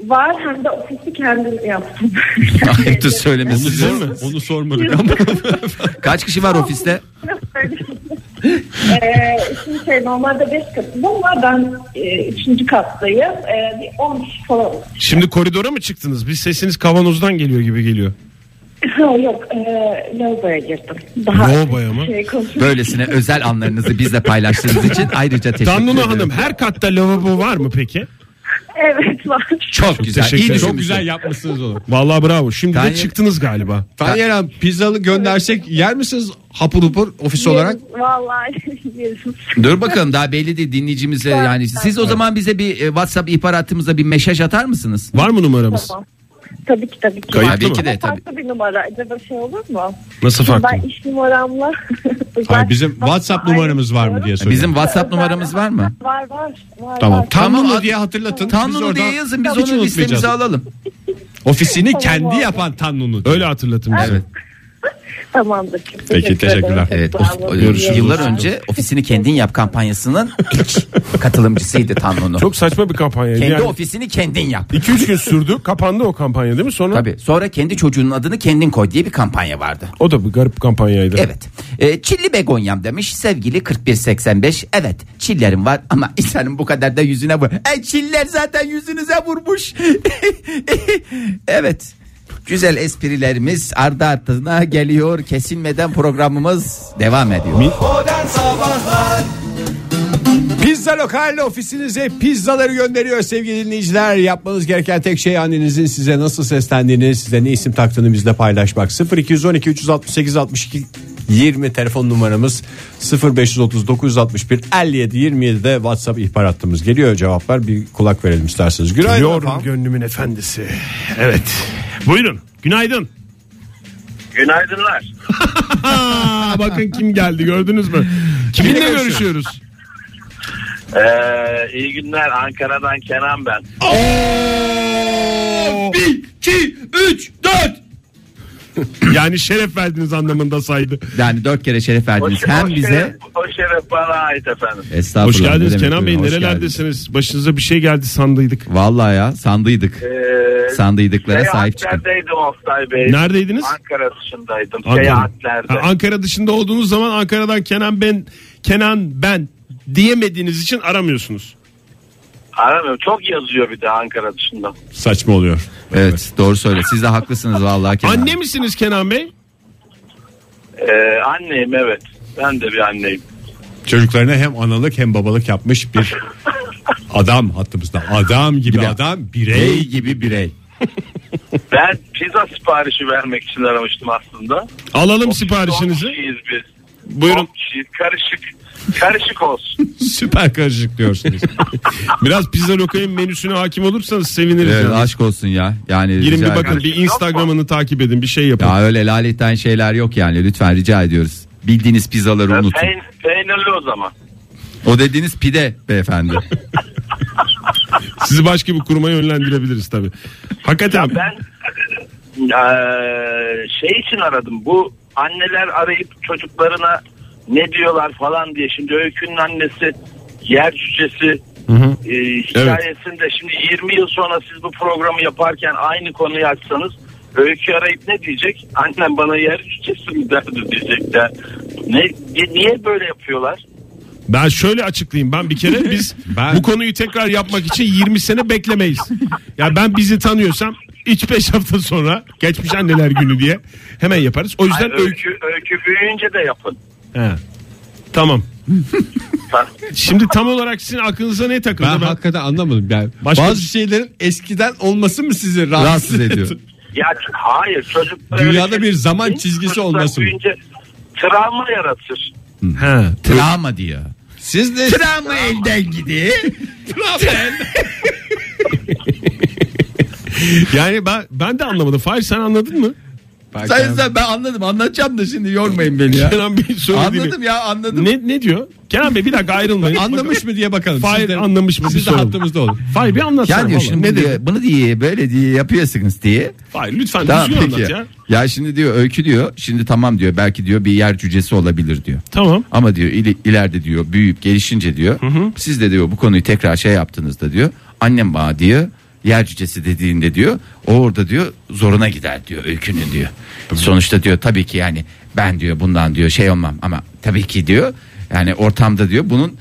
S5: Var hem de ofisi kendim yaptım.
S3: Ayıptır söylemesi.
S4: Değil mi?
S2: Onu sormadık ama.
S3: Kaç kişi var ofiste?
S5: ee, şimdi şey normalde 5 katım ama ben 3. kattayım. Ee, bir 10 kişi falan.
S4: Şimdi koridora mı çıktınız? Bir sesiniz kavanozdan geliyor gibi geliyor.
S5: Ha, Yok ee, lavaboya girdim. Daha
S4: Lavaboya mı?
S5: Şey, konuşuyorum.
S3: Böylesine özel anlarınızı bizle paylaştığınız için ayrıca teşekkür ederim.
S4: Damluna Hanım her katta lavabo var mı peki?
S5: evet var.
S3: Çok, güzel.
S4: teşekkür
S3: İyi
S4: ederim.
S3: düşünmüşsün.
S2: Çok güzel yapmışsınız onu.
S4: Vallahi bravo. Şimdi
S3: Tanya-
S4: de çıktınız galiba.
S2: Tanyeli Hanım pizzalı göndersek yer misiniz hapur hupur ofis olarak?
S5: Vallahi yeriz.
S3: Dur bakalım daha belli değil dinleyicimize yani. Siz o zaman bize bir e, WhatsApp ihbar hattımıza bir mesaj atar mısınız?
S4: Var mı numaramız?
S5: Tamam. Tabii ki tabii ki.
S4: Kayıtlı
S5: Tabii
S4: mı?
S5: ki
S2: E,
S5: de,
S3: Ama
S5: tabii. Farklı bir numara acaba şey olur mu?
S4: Nasıl farklı?
S5: Ben iş numaramla.
S2: Hayır, bizim WhatsApp numaramız var mı diye soruyorum.
S3: Bizim WhatsApp numaramız var mı?
S5: Var var. var
S2: Tamam.
S5: var.
S2: Tanrı
S3: Tamam,
S2: diye hatırlatın. Biz
S3: Tanrı'nı
S2: oradan
S3: diye yazın biz
S2: hiç
S3: onu
S2: unutmayacağız.
S3: listemize alalım.
S2: Ofisini kendi yapan Tanrı'nı.
S4: Öyle hatırlatın bize.
S3: Evet.
S5: Tamamdır. Çok teşekkür
S2: teşekkürler.
S5: ederim.
S3: Evet,
S5: Çok sağ
S3: of- e,
S5: olun.
S2: görüşürüz.
S3: Yıllar önce ofisini kendin yap kampanyasının ilk katılımcısıydı Tanrı'nın.
S4: Çok saçma bir kampanya.
S3: Kendi
S4: Yani
S3: ofisini kendin yap.
S4: 2-3 gün sürdü. Kapandı o kampanya değil mi? Sonra
S3: Tabii. Sonra kendi çocuğunun adını kendin koy diye bir kampanya vardı.
S4: o da bir garip kampanyaydı.
S3: Evet. Ee, çilli begonyam demiş sevgili 4185. Evet çillerim var ama insanın bu kadar da yüzüne vur. E, çiller zaten yüzünüze vurmuş. evet. Güzel esprilerimiz ardı ardına geliyor. Kesilmeden programımız devam ediyor.
S2: Pizza Lokal ofisinize pizzaları gönderiyor sevgili dinleyiciler. Yapmanız gereken tek şey annenizin size nasıl seslendiğini, size ne isim taktığını bizle paylaşmak. 0212 368 62 20 telefon numaramız 0530 961 57 27'de WhatsApp ihbar hattımız geliyor. Cevaplar bir kulak verelim isterseniz. Günaydın
S4: Yorum
S2: efendim.
S4: gönlümün efendisi. Evet. Buyurun. Günaydın.
S1: Günaydınlar.
S4: Aa, bakın kim geldi gördünüz mü? Kiminle görüşüyoruz?
S1: Ee, iyi günler Ankara'dan Kenan ben.
S4: 1, 2, 3, 4. Yani şeref verdiniz anlamında saydı.
S3: Yani dört kere şeref verdiniz. Hem
S1: hoş
S3: bize
S1: Şeref, o şeref bana ait efendim.
S3: Estağfurullah.
S4: Hoş geldiniz
S3: ne demek
S4: Kenan
S3: buyurun,
S4: Bey
S3: hoş
S4: nerelerdesiniz? Başınıza bir şey geldi sandıydık.
S3: geldiniz. Vallahi ya sandıydık.
S1: Ee,
S3: Sandıklara sahip çıkın.
S1: Seyahatlerdeydim Oktay Bey.
S4: Neredeydiniz?
S1: Ankara dışındaydım. Şey
S4: Ankara.
S1: Seyahatlerde.
S4: Ha, Ankara dışında olduğunuz zaman Ankara'dan Kenan ben Kenan ben diyemediğiniz için aramıyorsunuz.
S1: Aramıyorum. Çok yazıyor bir de Ankara dışında.
S2: Saçma oluyor.
S3: Evet doğru söyle. Siz de haklısınız vallahi. Kenan.
S4: Anne misiniz Kenan Bey?
S1: Ee, anneyim evet. Ben de bir anneyim.
S2: Çocuklarına hem analık hem babalık yapmış bir adam hattımızda. Adam gibi
S3: Gibi.
S2: adam,
S3: Bey
S2: birey.
S3: gibi birey.
S1: Ben pizza siparişi vermek için aramıştım aslında.
S4: Alalım
S1: On
S4: siparişinizi.
S1: kişiyiz biz.
S4: Buyurun.
S1: On kişiyiz. Karışık. Karışık olsun.
S2: Süper karışık diyorsunuz.
S4: Biraz pizza lokayın menüsüne hakim olursanız seviniriz.
S3: Evet,
S4: yani.
S3: Ee, aşk olsun ya. Yani
S4: Girin
S3: rica
S4: bir bakın
S3: ediyorum.
S4: bir Instagram'ını takip edin bir şey yapın.
S3: Ya öyle laletten şeyler yok yani. Lütfen rica ediyoruz. Bildiğiniz pizzaları unutun.
S1: Ee, Peyn, peynirli o zaman.
S3: O dediğiniz pide beyefendi.
S4: Sizi başka bir kuruma yönlendirebiliriz tabii. Hakikaten
S1: Ben eee, şey için aradım. Bu anneler arayıp çocuklarına ne diyorlar falan diye. Şimdi Öykü'nün annesi yer cücesi e, hikayesinde şimdi 20 yıl sonra siz bu programı yaparken aynı konuyu açsanız Öykü arayıp ne diyecek? Annem bana yer cücesi mi derdi diyecekler. Ne, niye böyle yapıyorlar?
S4: ben şöyle açıklayayım. Ben bir kere biz
S2: Ben-
S4: bu konuyu tekrar yapmak için 20 sene beklemeyiz. Ya ben bizi tanıyorsam iç 5 hafta sonra geçmiş anneler günü diye hemen yaparız. O yüzden
S1: Hayır,
S4: öykü.
S1: öykü, öykü büyüyünce de yapın.
S4: He. Tamam.
S1: Ta-
S4: Şimdi tam olarak sizin aklınıza ne takıldı?
S2: ben
S4: Ben-
S2: hakikaten anlamadım. Yani
S4: Başka-
S2: Bazı şeylerin eskiden olması mı sizi rahatsız,
S3: Rahatsız ediyor.
S1: Ya ç- hayır çocuk şey
S2: Dünyada bir zaman çizgisi olması mı?
S1: Büyünce travma yaratır.
S4: He.
S3: Travma diyor.
S2: Siz de
S3: Travma elden gidiyor.
S4: Yani ben ben de anlamadım. Fahir sen anladın mı?
S3: Sayınızda ben anladım. Anlatacağım da şimdi yormayın beni ya.
S4: Kenan Bey söylediğini.
S3: Anladım ya anladım.
S4: Ne, ne diyor? Kenan Bey bir dakika ayrılmayın.
S2: anlamış mı diye bakalım.
S4: Fahir
S2: Siz de,
S4: anlamış mı? bir
S2: siz de
S4: soralım.
S2: hattımızda olun.
S4: Fahir bir anlatsana.
S3: Ya diyor
S4: vallahi.
S3: şimdi
S4: ne
S3: bunu
S4: dedi?
S3: diyor, bunu diye böyle diye yapıyorsunuz diye.
S4: Fahir lütfen
S3: Tamam
S4: düzgün
S3: peki.
S4: anlat
S3: Ya.
S4: ya.
S3: şimdi diyor öykü diyor. Şimdi tamam diyor. Belki diyor bir yer cücesi olabilir diyor.
S4: Tamam.
S3: Ama diyor ili- ileride diyor büyüyüp gelişince diyor. Siz de diyor bu konuyu tekrar şey yaptığınızda diyor. Annem bana diyor yer cücesi dediğinde diyor o orada diyor zoruna gider diyor öykünün diyor. Sonuçta diyor tabii ki yani ben diyor bundan diyor şey olmam ama tabii ki diyor yani ortamda diyor bunun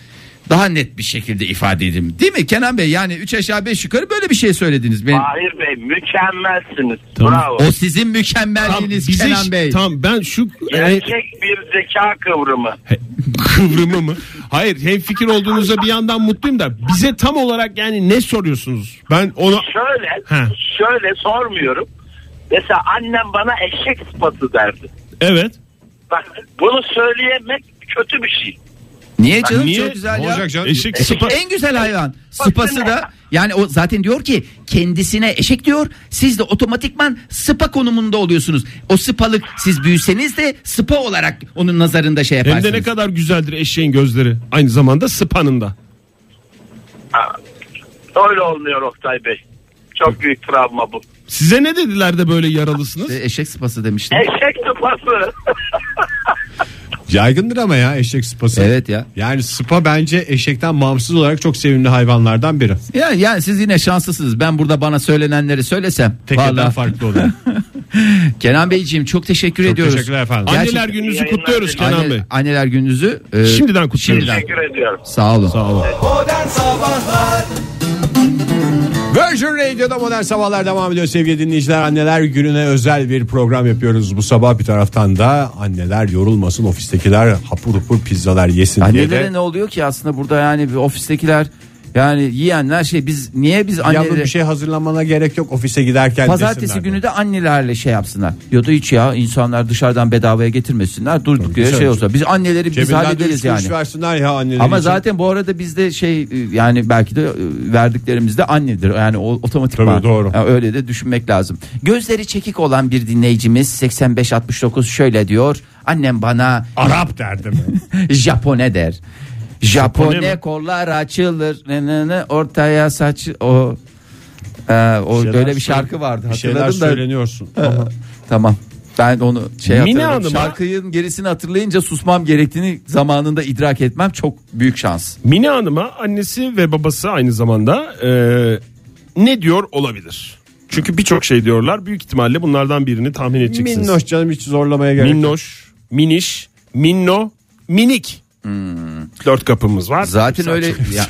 S3: daha net bir şekilde ifade edeyim. Değil mi Kenan Bey? Yani 3 aşağı 5 yukarı böyle bir şey söylediniz.
S2: E-
S3: Benim,
S1: Fahir Bey mükemmelsiniz.
S4: Tamam.
S1: Bravo.
S3: o sizin mükemmelliğiniz
S4: bize
S3: Kenan
S4: ş-
S3: Bey.
S4: Tamam ben şu
S2: e-
S4: e,
S1: Gerçek bir zeka kıvrımı.
S4: kıvrımı mı? Hayır hem fikir olduğunuza bir yandan mutluyum da bize tam olarak yani ne soruyorsunuz? Ben ona
S1: Şöyle,
S4: He.
S1: şöyle sormuyorum. Mesela annem bana eşek sıpası derdi.
S4: evet.
S1: Bak bunu söyleyemek kötü bir şey.
S3: Niye canım?
S4: Niye?
S3: Çok güzel
S2: Ne
S3: ya.
S2: olacak canım?
S4: Eşek
S3: Eşek
S4: sıpa.
S3: en güzel hayvan. Sıpası da yani o zaten diyor ki kendisine eşek diyor. Siz de otomatikman sıpa konumunda oluyorsunuz. O sıpalık siz büyüseniz de sıpa olarak onun nazarında şey
S4: Hem de
S3: yaparsınız.
S4: ne kadar güzeldir eşeğin gözleri. Aynı zamanda sıpanın da.
S1: Öyle olmuyor Oktay Bey. Çok büyük travma bu.
S4: Size ne dediler de böyle yaralısınız?
S3: E, Eşek sıpası demiştim.
S1: Eşek sıpası.
S2: Yaygındır ama ya eşek sıpası.
S3: Evet ya.
S2: Yani sıpa bence eşekten bağımsız olarak çok sevimli hayvanlardan biri.
S3: Ya yani siz yine şanslısınız. Ben burada bana söylenenleri söylesem.
S2: Tekerden
S3: vallahi-
S2: farklı olan.
S3: Kenan Beyciğim çok teşekkür
S2: Çok
S3: ediyoruz.
S2: teşekkürler efendim.
S3: Gerçekten-
S4: Anneler gününüzü kutluyoruz
S1: Anne-
S4: Kenan Bey.
S3: Anne- anneler gününüzü e,
S4: Şimdiden kutluyoruz.
S1: Teşekkür ediyorum.
S3: Sağ olun.
S4: Sağ olun.
S2: Virgin Radio'da modern sabahlar devam ediyor sevgili dinleyiciler. Anneler gününe özel bir program yapıyoruz bu sabah. Bir taraftan da anneler yorulmasın ofistekiler hapur hapur pizzalar yesin diye
S3: Annelere
S2: de.
S3: ne oluyor ki aslında burada yani bir ofistekiler yani yiyenler şey biz niye biz
S2: Yavrum
S3: annelere
S2: bir şey hazırlamana gerek yok ofise giderken
S3: pazartesi
S2: desinler
S3: günü de annelerle şey yapsınlar. Ya da hiç ya insanlar dışarıdan bedavaya getirmesinler. Durduk yere şey
S2: söyleyeyim.
S3: olsa biz anneleri biz
S2: Cebinden de üç
S3: hallederiz yani.
S2: kuruş versinler ya anneler
S3: Ama
S2: için.
S3: zaten bu arada bizde şey e, yani belki de e, verdiklerimiz de annedir. Yani o otomatik
S2: Tabii, doğru.
S3: öyle de düşünmek lazım. Gözleri çekik olan bir dinleyicimiz 8569 şöyle diyor. Annem bana
S2: Arap derdim.
S3: Japone der. Japone
S4: Japone mi?
S3: kollar açılır ne ne ne ortaya saç o Ee, o
S2: şeyler
S3: öyle bir
S2: söyle-
S3: şarkı vardı
S2: bir şeyler
S3: hatırladım da
S2: söyleniyorsun. Aha.
S3: tamam ben onu şey
S4: Mine
S3: hatırladım
S4: Hanım'a-
S3: şarkının gerisini hatırlayınca susmam gerektiğini zamanında idrak etmem çok büyük şans
S4: Mine Hanım'a annesi ve babası aynı zamanda e, ne diyor olabilir? Çünkü birçok şey diyorlar. Büyük ihtimalle bunlardan birini tahmin edeceksiniz.
S2: Minnoş canım hiç zorlamaya gerek yok.
S4: Minnoş, miniş, minno, minik. Dört kapımız var.
S3: Hmm. zaten
S4: Sen
S3: öyle
S4: çok-
S3: ya,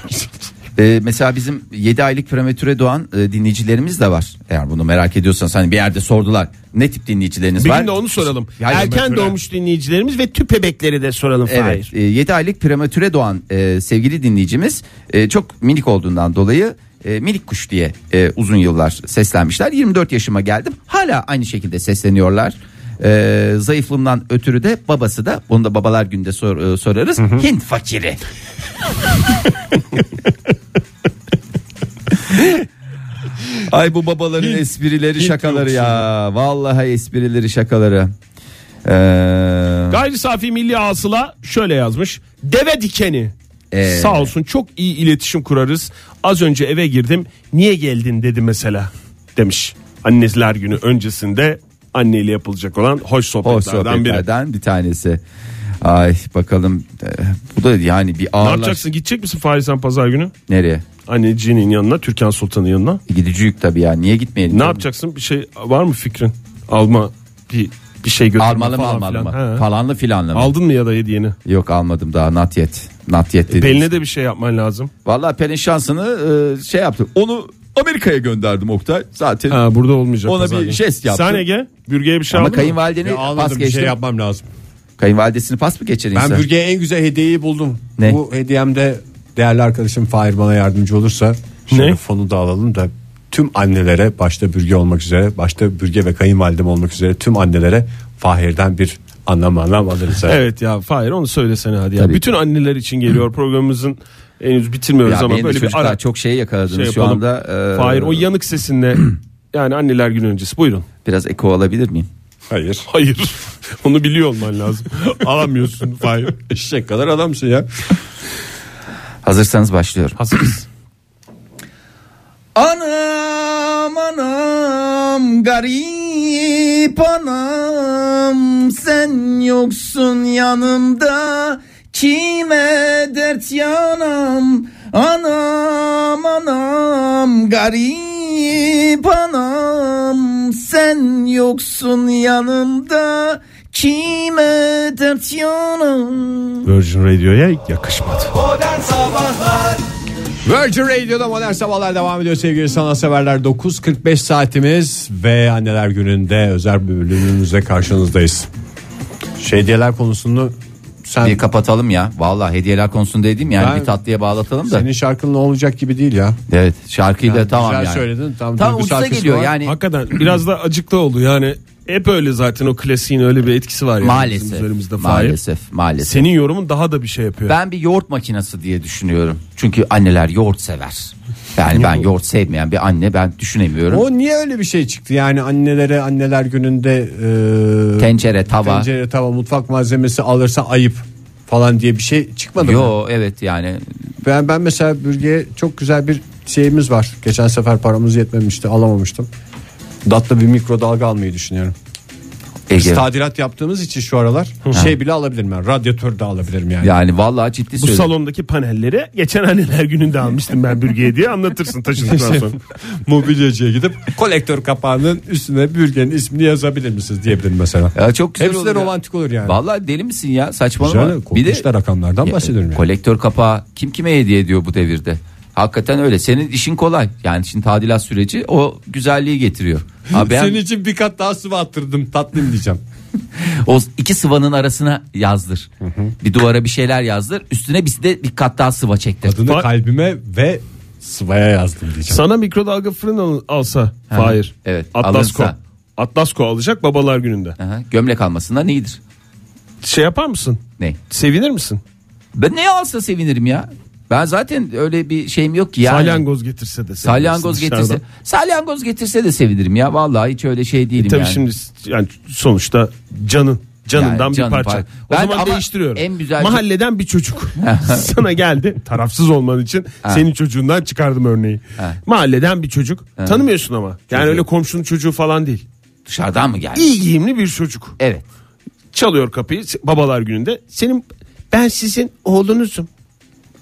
S3: Ee, mesela bizim 7 aylık prematüre doğan e, dinleyicilerimiz de var. Eğer bunu merak ediyorsanız hani bir yerde sordular. Ne tip dinleyicileriniz
S4: Bir
S3: var?
S4: gün de onu soralım.
S3: Yani
S6: Erken doğmuş dinleyicilerimiz ve tüp bebekleri de soralım.
S3: Evet.
S6: Fahir.
S3: 7 aylık prematüre doğan e, sevgili dinleyicimiz e, çok minik olduğundan dolayı e, minik kuş diye e, uzun yıllar seslenmişler. 24 yaşıma geldim. Hala aynı şekilde sesleniyorlar. E, zayıflığımdan ötürü de babası da bunu da babalar günde sor- e, sorarız. Hint fakiri. Ay bu babaların esprileri şakaları ya. Vallahi esprileri şakaları. Ee,
S4: Gayri safi milli hasıla şöyle yazmış. Deve dikeni.
S3: Ee.
S4: Sağ olsun çok iyi iletişim kurarız. Az önce eve girdim. Niye geldin dedi mesela demiş. Anneler günü öncesinde anneyle yapılacak olan hoş sohbetlerden,
S3: O
S4: biri.
S3: sohbetlerden bir tanesi. Ay bakalım e, bu da yani bir
S4: Ne
S3: ağırlaş...
S4: yapacaksın? Gidecek misin Fahri sen pazar günü?
S3: Nereye? E,
S4: Anneciğinin yanına, Türkan Sultan'ın yanına.
S3: Gidici yük tabii ya. Niye gitmeyelim?
S4: Ne yapacaksın? Bir şey var mı fikrin? Alma bir bir şey götürme
S3: Almalı mı
S4: falan
S3: almalı mı?
S4: filan. Ha.
S3: Falanlı filanlı mı?
S4: Aldın mı ya da hediyeni?
S3: Yok almadım daha not yet. Not yet dediniz.
S4: Pelin'e de bir şey yapman lazım.
S3: Vallahi Pelin şansını e, şey yaptı. Onu Amerika'ya gönderdim Oktay. Zaten
S4: Ha, burada olmayacak.
S3: Ona
S4: pazar
S3: bir
S4: günü.
S3: jest yaptın.
S4: Sen Ege, bürgeye bir şey
S3: ama
S4: aldın mı?
S3: kayınvalideni
S2: Ya
S3: pas
S2: anladım bir
S3: geçtim.
S2: şey yapmam lazım.
S3: Kayınvalidesini pas mı geçirin
S2: Ben
S3: insan?
S2: bürgeye en güzel hediyeyi buldum.
S3: Ne?
S2: Bu hediyemde değerli arkadaşım Fahir bana yardımcı olursa şöyle
S4: Ne?
S2: fonu da alalım da tüm annelere başta bürge olmak üzere başta bürge ve kayınvalidem olmak üzere tüm annelere Fahir'den bir anlam anlam alırız.
S4: Evet ya Fahir onu söylesene hadi ya.
S3: Tabii.
S4: Bütün anneler için geliyor programımızın henüz bitirmiyoruz
S3: ya
S4: ama
S3: benim de
S4: böyle bir
S3: çocuklar
S4: ara
S3: çok şey yakaladınız
S4: şey
S3: şu
S4: yapalım.
S3: anda. e,
S4: Fahir o yanık sesinle yani anneler günü öncesi buyurun.
S3: Biraz eko alabilir miyim?
S2: Hayır.
S4: Hayır onu biliyor olman lazım. Alamıyorsun Fahir.
S2: Eşek kadar adamsın ya.
S3: Hazırsanız başlıyorum.
S4: Hazırız.
S3: Anam anam garip anam sen yoksun yanımda kime dert yanam anam anam garip anam sen yoksun yanımda kime dert yanam
S4: Virgin Radio'ya yakışmadı.
S2: Virgin Radio'da modern sabahlar devam ediyor sevgili sanatseverler. 9.45 saatimiz ve anneler gününde özel bölümümüzle karşınızdayız. Şediyeler konusunu sen
S3: Bir kapatalım ya. Vallahi hediyeler konusunda dedim yani
S2: Ben-
S3: bir tatlıya bağlatalım da.
S2: senin şarkın ne olacak gibi değil ya.
S3: Evet şarkıyla tamam
S2: güzel
S3: yani.
S2: söyledin, tam
S3: Tam
S2: duygusal
S3: ucuza
S2: kısmı
S3: geliyor
S2: var.
S3: yani.
S4: Hakikaten biraz da acıklı oldu yani. Hep öyle zaten o klasiğin öyle bir etkisi var yani. bizim
S3: maalesef.
S4: üzerimizde Fahir.
S3: Maalesef. Maalesef.
S4: Senin yorumun daha da bir şey yapıyor.
S3: Ben bir yoğurt makinesi diye düşünüyorum. Çünkü anneler yoğurt sever. Yani ben yoğurt sevmeyen bir anne ben düşünemiyorum.
S2: O niye öyle bir şey çıktı yani annelere anneler gününde e,
S3: Tencere, tava.
S2: tencere tava mutfak malzemesi alırsa ayıp falan diye bir şey çıkmadı mı?
S3: Yo evet yani
S2: Ben, ben mesela bürgeye çok güzel bir şeyimiz var. Geçen sefer paramız yetmemişti alamamıştım. Datla bir mikrodalga almayı düşünüyorum. Biz
S3: Ege.
S2: tadilat yaptığımız için şu aralar şey bile alabilirim ben. Radyatör de alabilirim yani.
S3: Yani vallahi ciddi
S4: Bu
S3: söylüyorum.
S4: salondaki panelleri geçen anneler gününde almıştım ben bürgeye diye anlatırsın taşıdıktan sonra.
S2: Mobilyacıya gidip kolektör kapağının üstüne bürgenin ismini yazabilir misiniz diyebilirim mesela.
S3: Ya çok güzel
S2: Hepsi de
S3: olur ya.
S2: romantik olur yani.
S3: Vallahi deli misin ya saçmalama.
S2: Güzel, korkunçlar rakamlardan
S3: Ya,
S2: bahsediyorum. Yani.
S3: Kolektör kapağı kim kime hediye ediyor bu devirde? Hakikaten öyle. Senin işin kolay. Yani şimdi tadilat süreci o güzelliği getiriyor. Abi ben
S2: Senin için bir kat daha sıvı attırdım tatlım diyeceğim.
S3: o iki sıvanın arasına yazdır. Bir duvara bir şeyler yazdır. Üstüne bir de bir kat daha sıva çektir.
S2: Adını
S4: Bak-
S2: kalbime ve sıvaya yazdım diyeceğim.
S4: Sana mikrodalga fırın al- alsa Fahir.
S3: evet,
S4: Atlasko.
S3: alınsa.
S4: Atlasko alacak babalar gününde.
S3: Aha, gömlek almasından iyidir.
S4: Şey yapar mısın?
S3: Ne?
S4: Sevinir misin?
S3: Ben ne alsa sevinirim ya. Ben zaten öyle bir şeyim yok ki yani.
S4: Salyangoz getirse de. sevinirsin
S3: Salyangoz getirse.
S4: dışarıdan.
S3: Salyangoz getirse de sevinirim ya. Vallahi hiç öyle şey değilim
S4: E Tabii
S3: yani.
S4: şimdi yani sonuçta canın canından
S3: Yani
S4: bir
S3: canın
S4: parça.
S3: par-
S4: O
S3: Ben
S4: zaman
S3: ama
S4: değiştiriyorum.
S3: en güzel-
S4: Mahalleden bir çocuk sana geldi. Tarafsız olman için senin çocuğundan çıkardım örneği. Mahalleden bir çocuk. Tanımıyorsun ama. Yani öyle komşunun çocuğu falan değil.
S3: Dışarıdan mı geldi?
S4: İyi giyimli bir çocuk.
S3: Evet.
S4: çalıyor kapıyı babalar gününde. Senin ben sizin oğlunuzum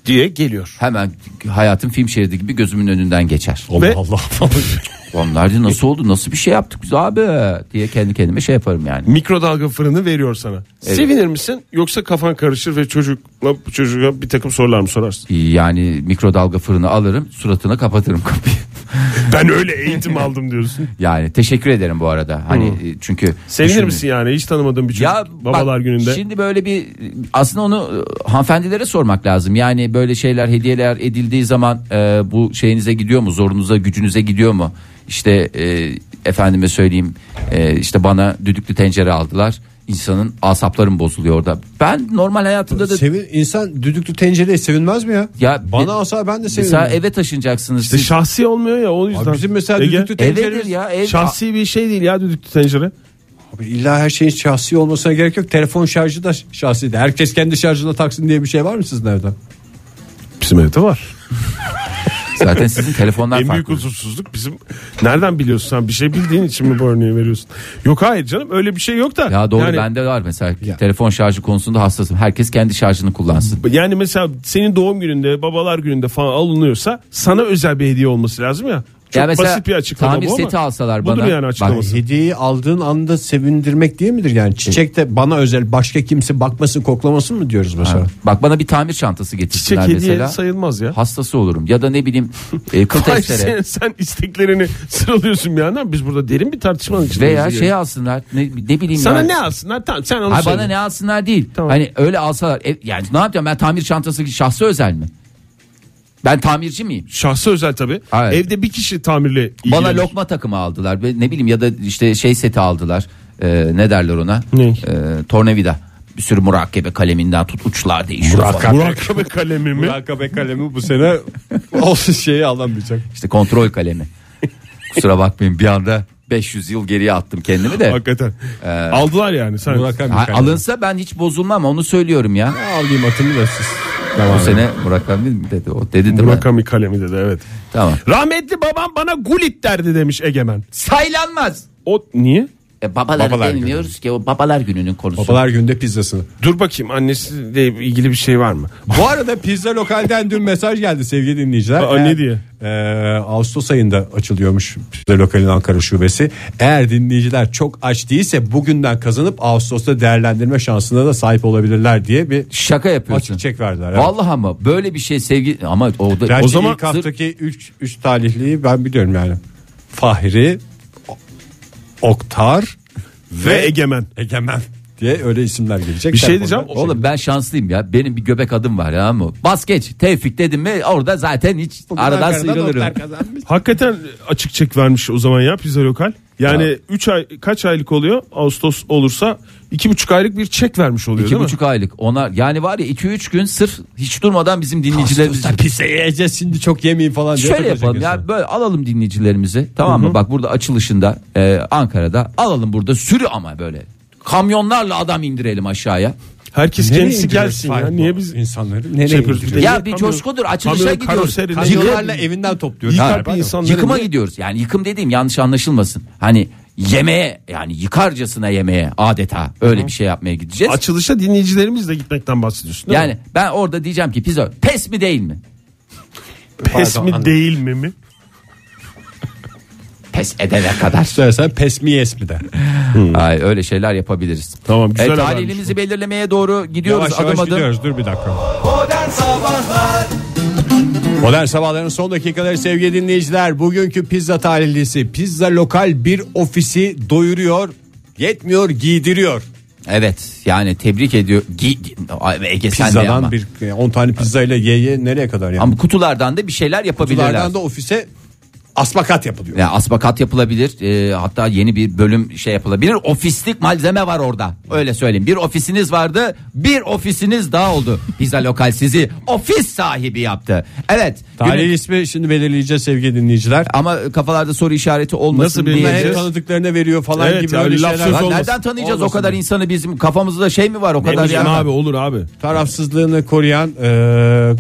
S7: diye geliyor.
S3: Hemen hayatın film şeridi gibi gözümün önünden geçer.
S2: Allah
S7: Ve-
S2: Allah.
S3: Onlar diyor nasıl oldu nasıl bir şey yaptık biz abi diye kendi kendime şey yaparım yani.
S8: Mikrodalga fırını veriyor sana. Sevinir misin yoksa kafan karışır ve çocukla çocuğa bir takım sorular mı sorarsın?
S3: Yani mikrodalga fırını alırım suratına kapatırım kapıyı.
S8: Ben öyle eğitim aldım diyorsun.
S3: Yani teşekkür ederim bu arada. Hani e, çünkü
S8: Sevinir
S3: düşünün.
S8: misin yani hiç tanımadığın bir çocuk
S3: Ya
S8: babalar
S3: bak,
S8: gününde?
S3: Şimdi böyle bir aslında onu e, hanımefendilere sormak lazım. Yani böyle şeyler hediyeler edildiği zaman e, bu şeyinize gidiyor mu? Zorunuza gücünüze gidiyor mu? İşte e, efendime söyleyeyim e, işte bana düdüklü tencere aldılar. İnsanın asaplarım bozuluyor orada. Ben normal hayatımda da
S8: Şey,
S2: Sevin, insan düdüklü tencereye sevinmez mi ya?
S3: Ya
S2: Bana
S3: ben-
S2: alsa ben de sevinirim.
S3: mesela eve taşınacaksınız.
S8: İşte
S3: siz.
S8: şahsi olmuyor ya o yüzden.
S2: Abi bizim mesela
S8: Ege,
S2: düdüklü
S3: Evedir
S2: tenceremiz.
S3: ya ev.
S8: Şahsi bir şey değil ya düdüklü tencere.
S2: Abi illa her şeyin şahsi olmasına gerek yok. Telefon şarjı da şahsi de. Herkes kendi şarjına taksın diye bir şey var mı sizin evde?
S8: Bizim evde var.
S3: Zaten sizin telefonlar
S8: en büyük
S3: farklı.
S8: huzursuzluk bizim. Nereden biliyorsun sen bir şey bildiğin için mi bu örneği veriyorsun? Yok hayır canım öyle bir şey yok da.
S3: Ya doğru
S8: yani,
S3: bende var mesela telefon şarjı konusunda hassasım. Herkes kendi şarjını kullansın.
S8: Yani mesela senin doğum gününde babalar gününde falan alınıyorsa sana özel bir hediye olması lazım ya. Çok
S3: Ya mesela
S8: basit bir açıklama
S3: tamir
S8: bu ama.
S3: seti alsalar
S8: budur
S3: bana.
S8: yani açıklaması.
S2: Hediyeyi aldığın anda sevindirmek değil midir yani? Çiçek de bana özel başka kimse bakmasın koklamasın mı diyoruz mesela?
S3: Bak bana bir tamir çantası
S8: Çiçek
S3: getirsinler
S8: hediye
S3: mesela.
S8: sayılmaz ya.
S3: Hastası olurum ya da ne bileyim e, kıl
S8: Hayır,
S3: testere
S8: sen, sen isteklerini sıralıyorsun bir yandan. Biz burada derin bir tartışmanın içindeyiz.
S3: veya
S8: Yani.
S3: şey alsınlar ne, ne bileyim
S8: Sana
S3: ya.
S8: ne alsınlar? Tamam sen onu
S3: Hayır,
S8: söyle.
S3: bana ne alsınlar değil.
S8: Tamam.
S3: Hani öyle alsalar e, yani ne yapacağım ben tamir çantası şahsı özel mi? Ben tamirci miyim?
S8: Şahsı özel tabii.
S3: Evet.
S8: Evde bir kişi tamirle ilgilenir.
S3: Bana lokma takımı aldılar. Ve Ne bileyim ya da işte şey seti aldılar. Ee, ne derler ona?
S8: Ne?
S3: Ee, tornavida. Bir sürü murakabe kaleminden tut uçlar değişiyor falan.
S8: Murakabe kalemi mi?
S2: Murakabe kalemi bu sene olsun şeyi alamayacak.
S3: İşte kontrol kalemi. Kusura bakmayın bir anda 500 yıl geriye attım kendimi de.
S8: Hakikaten. Aldılar yani sen.
S2: Murakabe
S3: Ha,
S2: kalemi.
S3: alınsa ben hiç bozulmam onu söylüyorum ya.
S2: Alayım atımı da siz.
S3: Bu sene Murakami mi dedi o dedi değil mi?
S8: Murakami kalemi dedi evet.
S3: Tamam.
S8: Rahmetli babam bana gulit derdi demiş Egemen.
S3: Saylanmaz.
S8: O niye?
S3: E, babaları
S2: Babalar
S3: bilmiyoruz ki o babalar gününün konusu.
S2: Babalar günde pizzasını.
S8: Dur bakayım annesiyle ilgili bir şey var mı?
S2: Bu arada pizza lokalden dün mesaj geldi sevgili dinleyiciler.
S8: Aa, ne diye?
S2: e, Ağustos ayında açılıyormuş pizza lokalin Ankara şubesi. Eğer dinleyiciler çok aç değilse bugünden kazanıp Ağustos'ta değerlendirme şansına da sahip olabilirler diye bir
S3: Şaka yapıyorsun.
S2: açık çek verdiler. evet.
S3: Vallahi ama böyle bir şey sevgi ama o da
S2: Gerçi
S3: o zaman
S2: ilk haftaki 3 3 talihliyi ben biliyorum yani. Fahri, O- Oktar
S8: Ve Egemen.
S2: Egemen diye öyle isimler gelecek.
S8: Bir şey
S2: Telefonda-
S8: diyeceğim.
S3: Oğlum ben şanslıyım ya. Benim bir göbek adım var ya mı? Bas geç. Tevfik dedim mi orada zaten hiç aradan
S2: Ankara'dan
S3: sıyrılırım.
S2: Oktar kazanmış.
S8: Hakikaten açık çek vermiş o zaman ya pizza lokal.
S3: Ya.
S8: Yani 3 ay kaç aylık oluyor? Ağustos olursa 2,5 aylık bir çek vermiş oluyor
S3: İki
S8: değil
S3: buçuk aylık. Ona yani var ya iki üç gün sırf hiç durmadan bizim dinleyicilerimiz.
S2: Ağustos'ta pizza yiyeceğiz şimdi çok yemeyin falan diye.
S3: Şöyle
S2: takılacak
S3: yapalım
S2: insan.
S3: ya böyle alalım dinleyicilerimizi tamam mı? Bak burada açılışında e, Ankara'da alalım burada sürü ama böyle kamyonlarla adam indirelim aşağıya.
S8: mi? Herkes
S2: Nereye
S8: kendisi
S2: indiriyoruz
S8: gelsin
S2: Fahir
S8: ya.
S2: bu
S8: Niye biz
S2: insanları nereye
S8: şey yapıyoruz?
S2: indiriyoruz?
S8: Bir de
S3: Ya
S8: niye
S3: bir
S8: kamyon-
S3: coşkudur açılışa
S8: kamyon
S3: gidiyoruz.
S8: karoseri-
S2: Kamyonlarla evinden topluyoruz.
S8: Yıkar
S2: Galiba
S8: bir
S2: değil mi?
S8: insanları
S3: Yıkıma
S8: niye-
S3: gidiyoruz. Yani yıkım dediğim yanlış anlaşılmasın. Hani yemeğe yani yıkarcasına yemeğe adeta öyle bir şey yapmaya gideceğiz.
S8: Açılışa dinleyicilerimizle gitmekten bahsediyorsun. değil mi?
S3: yani ben orada diyeceğim ki pizza pes mi değil mi?
S8: pes
S2: Pardon,
S8: mi
S2: anladım.
S8: değil mi mi?
S3: Pes edene kadar.
S2: İstersen pes mi yes mi de. Hmm.
S3: Ay öyle şeyler yapabiliriz.
S8: Tamam, güzel
S3: E,
S8: habermiş
S3: talihlimizi belirlemeye doğru gidiyoruz
S2: Yavaş
S3: adım
S2: yavaş
S3: adım.
S2: gidiyoruz dur bir dakika. Modern Sabahlar'ın son dakikaları sevgili dinleyiciler. Bugünkü pizza talihlisi pizza lokal bir ofisi doyuruyor, yetmiyor, giydiriyor.
S3: Evet yani tebrik ediyor. Gi- gi- Ay, Ege sen de
S2: Pizzadan
S3: yapma.
S2: bir 10 tane pizzayla ye ye nereye kadar yani?
S3: Ama kutulardan da bir şeyler yapabilirler.
S2: Kutulardan da ofise asmakat yapılıyor.
S3: Ya asbakat yapılabilir. Ee, hatta yeni bir bölüm şey yapılabilir. Ofislik malzeme var orada. Öyle söyleyeyim. Bir ofisiniz vardı. Bir ofisiniz daha oldu. Pizza Lokal sizi ofis sahibi yaptı. Evet.
S2: Tarih
S3: günün-
S2: ismi şimdi belirleyeceğiz sevgili dinleyiciler.
S3: Ama kafalarda soru işareti olmasın
S8: Nasıl bir-
S3: diye.
S2: Bunlar hep
S8: Diyeceğiz.
S2: tanıdıklarına veriyor falan
S8: Evet
S2: gibi
S8: ya,
S2: öyle
S8: laf
S2: şeyler.
S8: söz
S2: var.
S3: Lan
S8: olmasın.
S3: nereden tanıyacağız o
S8: Olmasın
S3: kadar
S8: diye.
S3: insanı bizim kafamızda şey mi var o kadar
S8: Emre'cim
S3: yani.
S8: abi olur abi.
S2: tarafsızlığını koruyan e,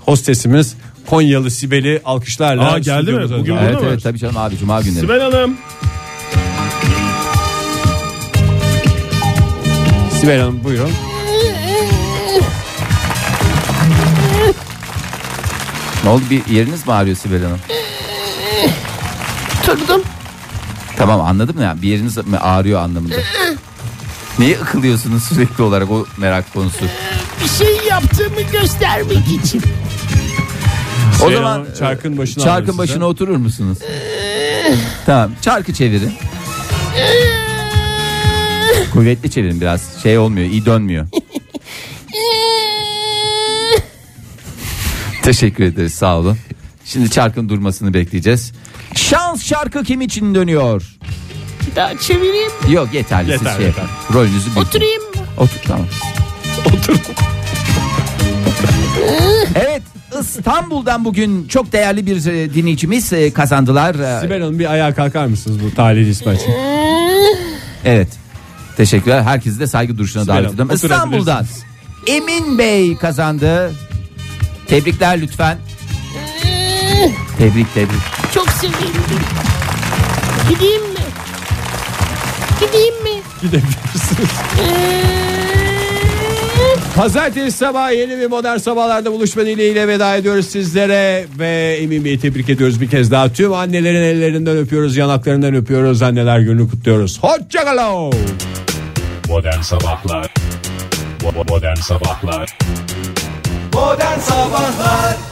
S2: hostesimiz Konyalı Sibel'i alkışlarla
S8: Aa, geldi mi?
S2: stüdyomuza
S8: Bugün
S2: davet
S8: burada
S3: Evet
S8: mı?
S2: ediyoruz.
S8: var?
S3: evet tabii canım abi cuma günleri.
S8: Sibel Hanım.
S2: Sibel Hanım buyurun.
S3: Ne oldu bir yeriniz mi ağrıyor Sibel Hanım?
S6: Tırdım.
S3: Tamam anladım ya bir yeriniz mi ağrıyor anlamında. Neye ıkılıyorsunuz sürekli olarak o merak konusu.
S6: Bir şey yaptığımı göstermek için.
S3: O
S2: Şey
S3: zaman
S2: ama çarkın başına
S3: çarkın
S2: alıyorsun
S3: başına oturur musunuz? tamam çarkı çevirin. Kuvvetli çevirin biraz şey olmuyor iyi dönmüyor. Teşekkür ederiz sağ olun. Şimdi çarkın durmasını bekleyeceğim. Şans şarkı kim için dönüyor?
S6: Daha çevireyim.
S3: Yok yeterli siz
S4: Yeter,
S3: şey
S4: yeter.
S3: yapın. Rolünüzü bilin.
S6: Oturayım mı?
S3: Otur tamam. Otur. evet İstanbul'dan bugün çok değerli bir e, dinleyicimiz e, kazandılar. E,
S2: Sibel Hanım bir ayağa kalkar mısınız bu talihli İsmail için?
S3: Evet. Teşekkürler. Herkesi de saygı duruşuna davet
S2: Hanım,
S3: ediyorum. İstanbul'dan Emin Bey kazandı. Tebrikler lütfen. Tebrik tebrik.
S9: Çok sevindim. Gideyim mi? Gideyim mi?
S2: Gidebilirsiniz.
S9: Ee,
S2: Pazartesi sabahı yeni bir modern sabahlarda buluşma dileğiyle veda ediyoruz sizlere ve Emin Bey'i tebrik ediyoruz bir kez daha. Tüm annelerin ellerinden öpüyoruz, yanaklarından öpüyoruz. Anneler gününü kutluyoruz. Hoşçakalın.
S10: Modern Sabahlar Bo- bo- Modern Sabahlar
S2: Modern Sabahlar